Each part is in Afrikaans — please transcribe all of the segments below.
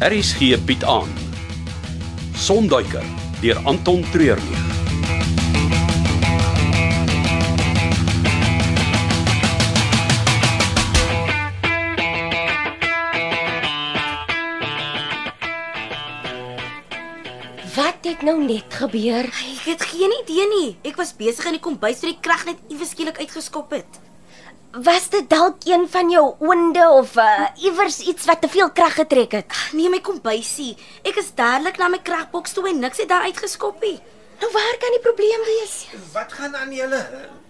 Harris gee Piet aan. Sonduiker deur Anton Treurnig. Wat het nou net gebeur? Ek het geen idee nie. Ek was besig in die kombuis toe die krag net iewes skielik uitgeskop het. Was dit dalk een van jou oonde of uh, iewers iets wat te veel krag getrek het? Nee, my kombuisie. Ek is dadelik na my kragboks toe en niks het daar uitgeskop nie. Nou waar kan die probleem wees? Wat gaan aan julle?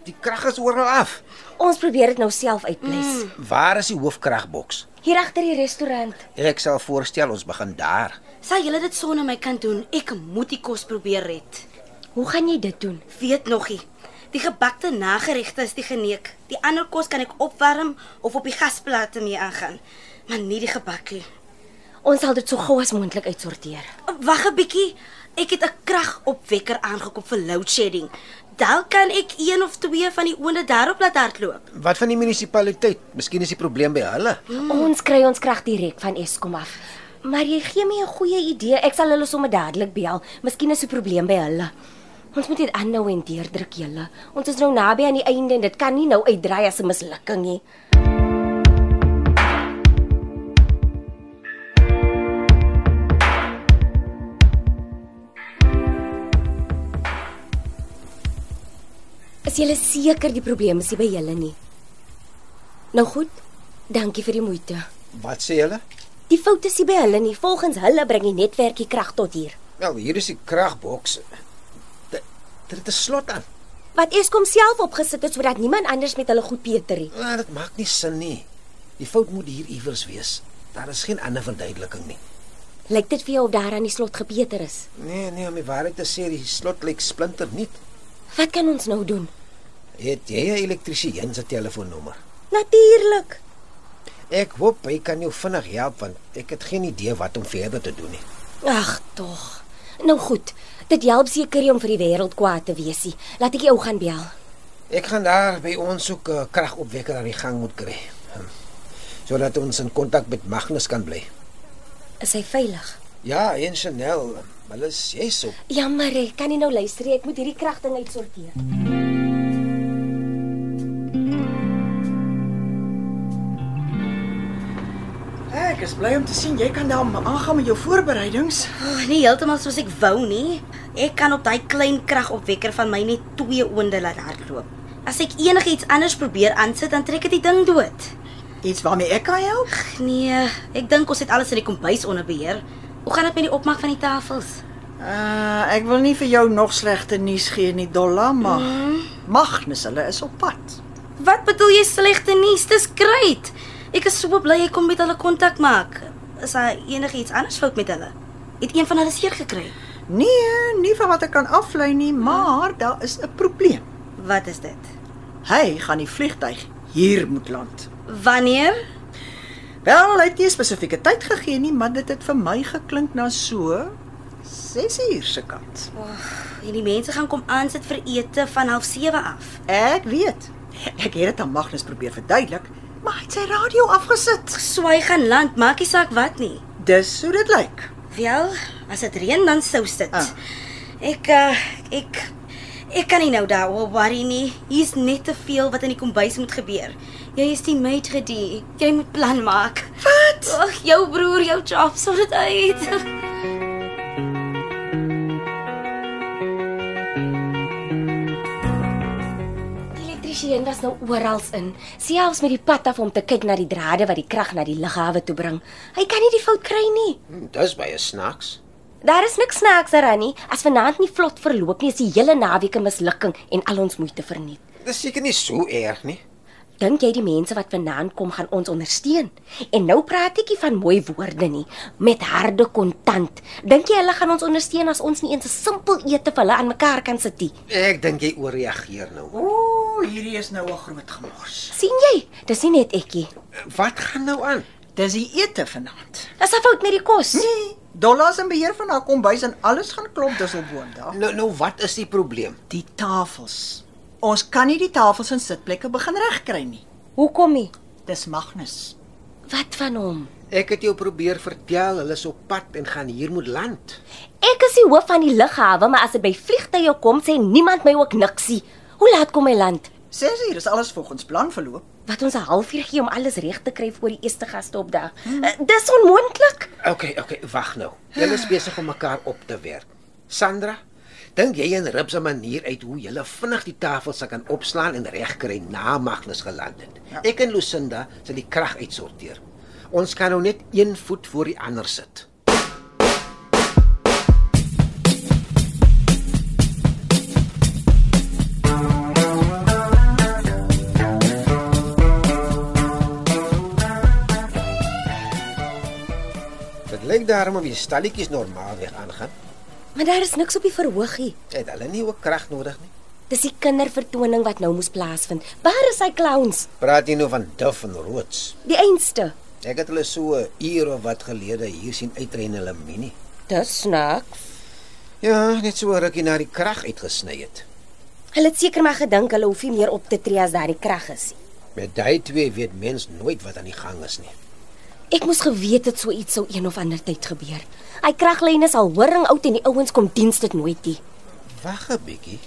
Die krag is oral af. Ons probeer dit nou self uitpleis. Mm. Waar is die hoofkragboks? Hier agter die restaurant. Ek sal voorstel ons begin daar. Sal julle dit sonder my kan doen? Ek moet die kos probeer red. Hoe gaan jy dit doen? Weet nogie. Die gebakte nageregte is die geneek. Die ander kos kan ek opwarm of op die gasplate mee aangaan, maar nie die gebak nie. Ons sal dit so gou as moontlik uitsorteer. Wag 'n bietjie. Ek het 'n kragopwekker aangekoop vir load shedding. Dan kan ek een of twee van die oonde daarop laat hardloop. Wat van die munisipaliteit? Miskien is die probleem by hulle. Mm. Ons kry ons krag direk van Eskom af. Maar jy gee my 'n goeie idee. Ek sal hulle sommer dadelik bel. Miskien is 'n probleem by hulle. Ons moet dit aanhou en deurdruk, julle. Ons is nou naby aan die einde en dit kan nie nou uitdraai as 'n mislukking nie. Is julle seker die probleem is nie by julle nie? Nou goed. Dankie vir die moeite. Wat sê hulle? Die fout is nie by hulle nie. Volgens hulle bring die netwerk die krag tot hier. Wel, hier is die kragboks. Dit dit is slot aan. Wat Eskom self opgesit het sodat niemand anders met hulle goed peter nie. Maar Nou, dit maak nie sin nie. Die fout moet hier iewers wees. Daar is geen ander verduideliking nie. Lyk dit vir jou of daar aan die slot gepeter is? Nee, nee, om die waarheid te sê, die slot lyk splinter nie. Wat kan ons nou doen? Het jy 'n elektriesien se telefoonnommer? Natuurlik. Ek hoop hy kan jou vinnig help want ek het geen idee wat om verder te doen nie. Ag, tog. Nou goed. Dit help seker nie om vir die wêreld kwaad te wees nie. Laat ek jou gaan bel. Ek gaan daar by ons ook 'n kragopwekker aan die gang moet kry. Hm. Sodat ons in kontak met Magnus kan bly. Is hy veilig? Ja, en Chanel, hulle is jy's op. Jammer, ek kan nie nou luister nie. Ek moet hierdie kragting uitsorteer. Ek is bly om te sien jy kan daar aangaan met jou voorbereidings. Oh, nie heeltemal soos ek wou nie. Ek kan op daai klein kragopwekker van my net twee oonde laat hardloop. As ek enigiets anders probeer aansit, dan trek dit die ding dood. Iets waarmee ek kan help? Ag, Nee, ek dink ons het alles in die kombuis onder beheer. Hoe gaan dit met die opmaak van die tafels? Uh, ek wil nie vir jou nog slegte nuus gee nie, Dolla, maar mm. Magnus hulle is op pad. Wat bedoel jy slegte nuus? Dis great. Ek is so bly jy kon met hulle kontak maak. Is daar enigiets anders fout met hulle? Het een van hulle seer gekry? Nee, nie van wat ek kan aflei nie, maar daar is 'n probleem. Wat is dit? Hy gaan die vliegtyg hier moet land. Wanneer? Wel, hy het nie 'n spesifieke tyd gegee nie, maar dit het vir my geklink na so 6 uur se kant. En die mense gaan kom aansit vir ete van 07:30 af. Ek weet. Ek het dit aan Magnus probeer verduidelik, maar hy het sy radio afgesit. So hy gaan land, maak nie saak wat nie. Dis hoe dit lyk. Wel, as dit reën dan sou sit. Ah. Ek uh, ek ek kan nie nou daaroor worry nie. Hier's net te veel wat in die kombuis moet gebeur. Jy is die maid gedie. Jy moet plan maak. Wat? Ag, jou broer, jou job sou dit uit. Die elektriesien was nou oral in, selfs met die pad af om te kyk na die drade wat die krag na die lughawe toe bring. Hy kan nie die fout kry nie. Hm, Dis baie snaaks. Daar is niks snaaks daaraan nie. As vanaand nie vlot verloop nie, is die hele naweek 'n mislukking en al ons moeite verniet. Dis seker nie so erg nie. Dink jy die mense wat vanaand kom gaan ons ondersteun? En nou praat ek nie van mooi woorde nie, met harde kontant. Dink jy hulle gaan ons ondersteun as ons nie eens 'n simpel ete vir hulle aan mekaar kan sit nie? Ek dink jy ooreageer nou. Ooh, hierdie is nou 'n groot gemors. sien jy? Dis nie net ekkie. Wat gaan nou aan? Dis die ete vanaand. Dis 'n fout met die kos. Nee, Dolla's in beheer van haar kombuis en alles gaan klop disselboom daar. Nou nou wat is die probleem? Die tafels. Ons kan nie die tafels en sitplekke begin regkry nie. Hoekom nie? Dis Magnus. Wat van hom? Ek het jou probeer vertel hulle is op pad en gaan hier moet land. Ek is die hoof van die lughawe, maar as dit by vliegtye kom, sê niemand my ook niksie. Hoe laat kom my land? 6 uur is alles volgens plan verloop. Wat ons 'n halfuur gee om alles reg te kry voor die eerste gaste op dag. Hmm. Dis onmoontlik. OK, OK, wag nou. Julle is besig om mekaar op te werk. Sandra, dink jy en Rip se manier uit hoe julle vinnig die tafel sal kan opslaan en regkry na Magnus geland het. Ek en Lucinda sal die krag uitsorteer. Ons kan nou net een voet voor die ander sit. Dit lyk daarom of die stalletjies normaalweg aangaan. Maar daar is niks op die verhoogie. Het hulle nie ook krag nodig nie? Dis die kindervertoning wat nou moes plaasvind. Waar is hy clowns? Praat jy nou van Duff en Roots? Die einste. Ek het hulle so 'n uur of wat gelede hier sien uitry in hulle mini. Dis snaaks. Ja, net so 'n rukkie na die krag uitgesny het. Hulle het seker maar gedink hulle hoef nie meer op te tree as daar die krag is nie. Met daai twee weet mens nooit wat aan die gang is nie. Ek moes geweet het so iets sou een of ander tyd gebeur. Hy kraglyne is al horing oud en die ouens kom diens dit nooit nie. Wag 'n bietjie.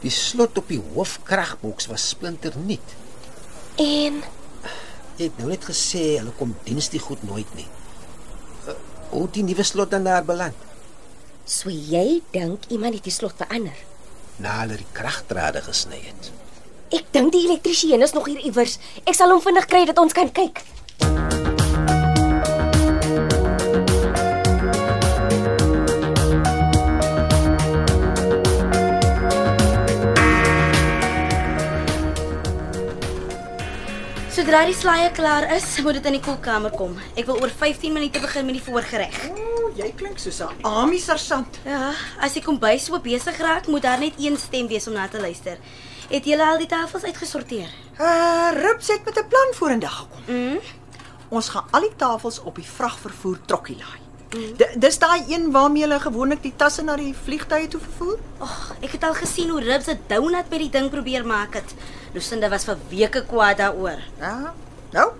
Die slot op die hoofkragboks was splinternuut. En Jy het nou net gesê hulle kom diens die goed nooit nie. Uh, Hoe het die nuwe slot dan daar beland? so jy dink iemand het die slot verander. Na hulle die kragdrade gesny het. Ek dink die elektriesien is nog hier iewers. Ek sal hom vinnig kry dat ons kan kyk. Sodra die slaaië klaar is, moet dit in die koelkamer kom. Ek wil oor 15 minute begin met die voorgereg. O, jy klink soos 'n Ami sersant. Ja, as die kombuis so besig raak, moet daar net een stem wees om na te luister. Het julle al die tafels uitgesorteer? Uh, Rips het met 'n plan vorendag gekom. Mm. Ons gaan al die tafels op die vragvervoer trokkie laai. D- Dis daai een waarmee hulle gewoonlik die tasse na die vliegtye toe vervoer. Ag, ek het al gesien hoe Ribs 'n donut by die ding probeer maak het. Lucinda was vir weke kwaad daaroor. Ja. Nou,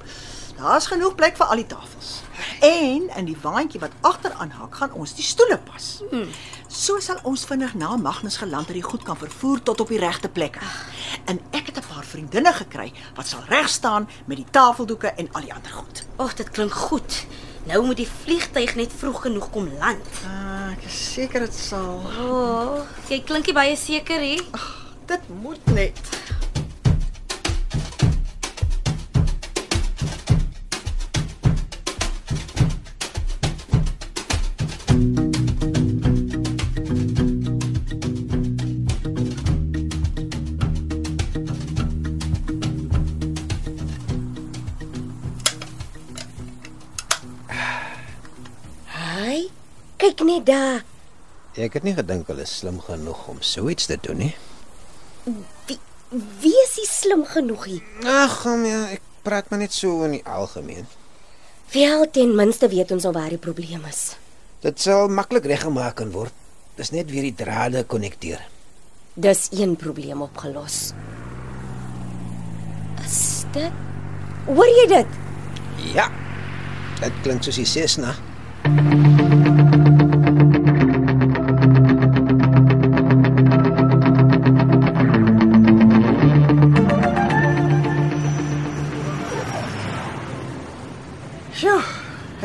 daar's genoeg plek vir al die tafels. En in die waantjie wat agteraan hak, gaan ons die stoele pas. Hmm. So sal ons vinnig na Magnus geland dat die goed kan vervoer tot op die regte plekke. En ek het 'n paar vriendinne gekry wat sal reg staan met die tafeldoeke en al die ander goed. Ag, dit klink goed. Nou moet die vliegtyg net vroeg genoeg kom land. Ah, ek is seker dit sal. O, oh, jy klink nie baie seker hè? Dit moet net. Haai. Kyk net daar. Ek het nie gedink hulle is slim genoeg om so iets te doen nie. Wie wie is hy slim genoeg hier? Ag, hom, ja, ek praat maar net so in die algemeen. Wel ten minste weet ons al waar die probleem is. Dit sal maklik reggemaak kan word. Dis net weer die drade konnekteer. Dis een probleem opgelos. Is dit? Hoor jy dit? Ja. Dit klink soos die Cessna. Sjoe,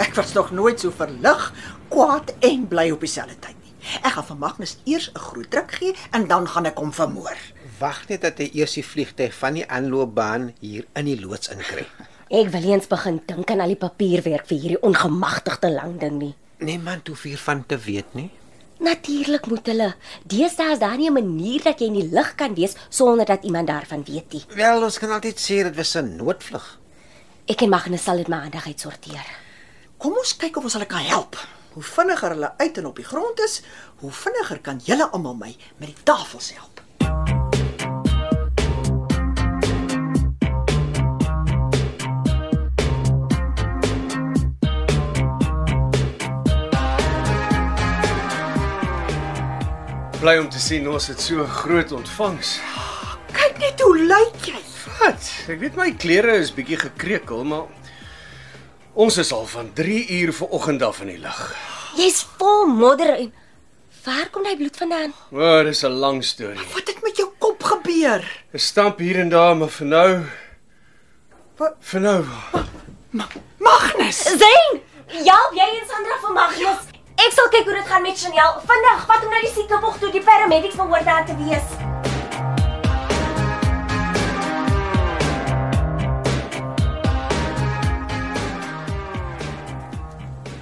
ek was nog nooit so verlig, kwaad en bly op dieselfde tyd nie. Ek gaan vir Magnus eers 'n groot druk gee en dan gaan ek hom vermoor. Wag net dat hy eers die vliegtyg van die aanloopbaan hier in die loods inkry. Ek wil eens begin dink aan al die papierwerk vir hierdie ongemagtigde landing nie. Niemand Nee, hoef hiervan te weet nie. Natuurlik moet hulle. Deesdae is daar nie 'n manier dat jy in die lug kan wees sonder dat iemand daarvan weet nie. Wel, ons kan altyd sê dit was 'n noodvlug. Ek en Magnus sal dit maandag uitsorteer. Kom ons kyk of ons hulle kan help. Hoe vinniger hulle uit en op die grond is, hoe vinniger kan julle almal my met die tafels help. Bly om te sien ons het so groot ontvangs. Kyk net hoe lyk jy. Wat? Ek weet my klere is bietjie gekreukel, maar Ons is al van 3 uur vanoggend af in die lug. Jy's vol modder en waar kom daai bloed vandaan? O, oh, dis 'n lang storie. Wat het met jou kop gebeur? 'n Stamp hier en daar, maar vir nou Wat? vir nou. Magnus. Zain, help jy en Sandra vir Magnus. Ek sal kyk hoe dit gaan met Chanel. Vandag vat hom na die siekebog toe. Die paramedics behoort daar te wees.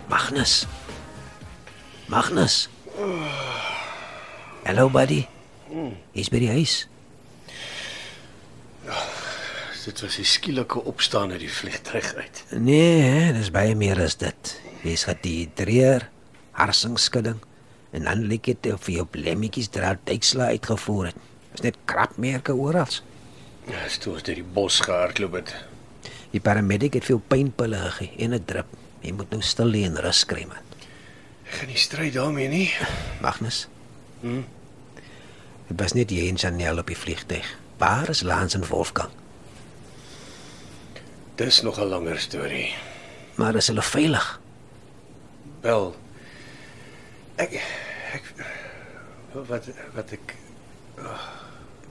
Magnus. Magnus. Hallo buddy. Is by die huis. Dit was 'n skielike opstaan uit die vliegtuig uit. Nee, hè, dis baie meer as dit. Jy's gedehidreer, harsingskudding en dan lyk dit of jou blemmetjies draad duiksla uitgevoer het. Is net krapmerke oral. Ja, is toe ons deur die bos gehardloop het. Die paramedic het veel pynpille gegee en 'n drip. Jy moet nou stil lê en rus kry man. Ek gaan nie stry daarmee nie. Magnus. Hm. Dit was net jy en Chanel op die vliegtuig. Waar is Lance en Wolfgang? Dis nog 'n langer storie. Maar is hulle veilig? Wel. Ek ek wat wat ek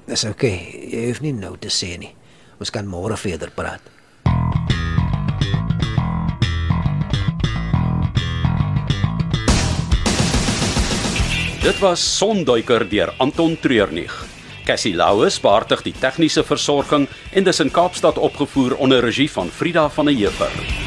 Dis oké. Okay. Jy hoef nie nou te sê nie. Ons kan môre verder praat. Dit was Sonduiker deur Anton Treurnig. Cassie Louws beheerdig die tegniese versorging en dis in Kaapstad opgevoer onder regie van Frida van der Heever.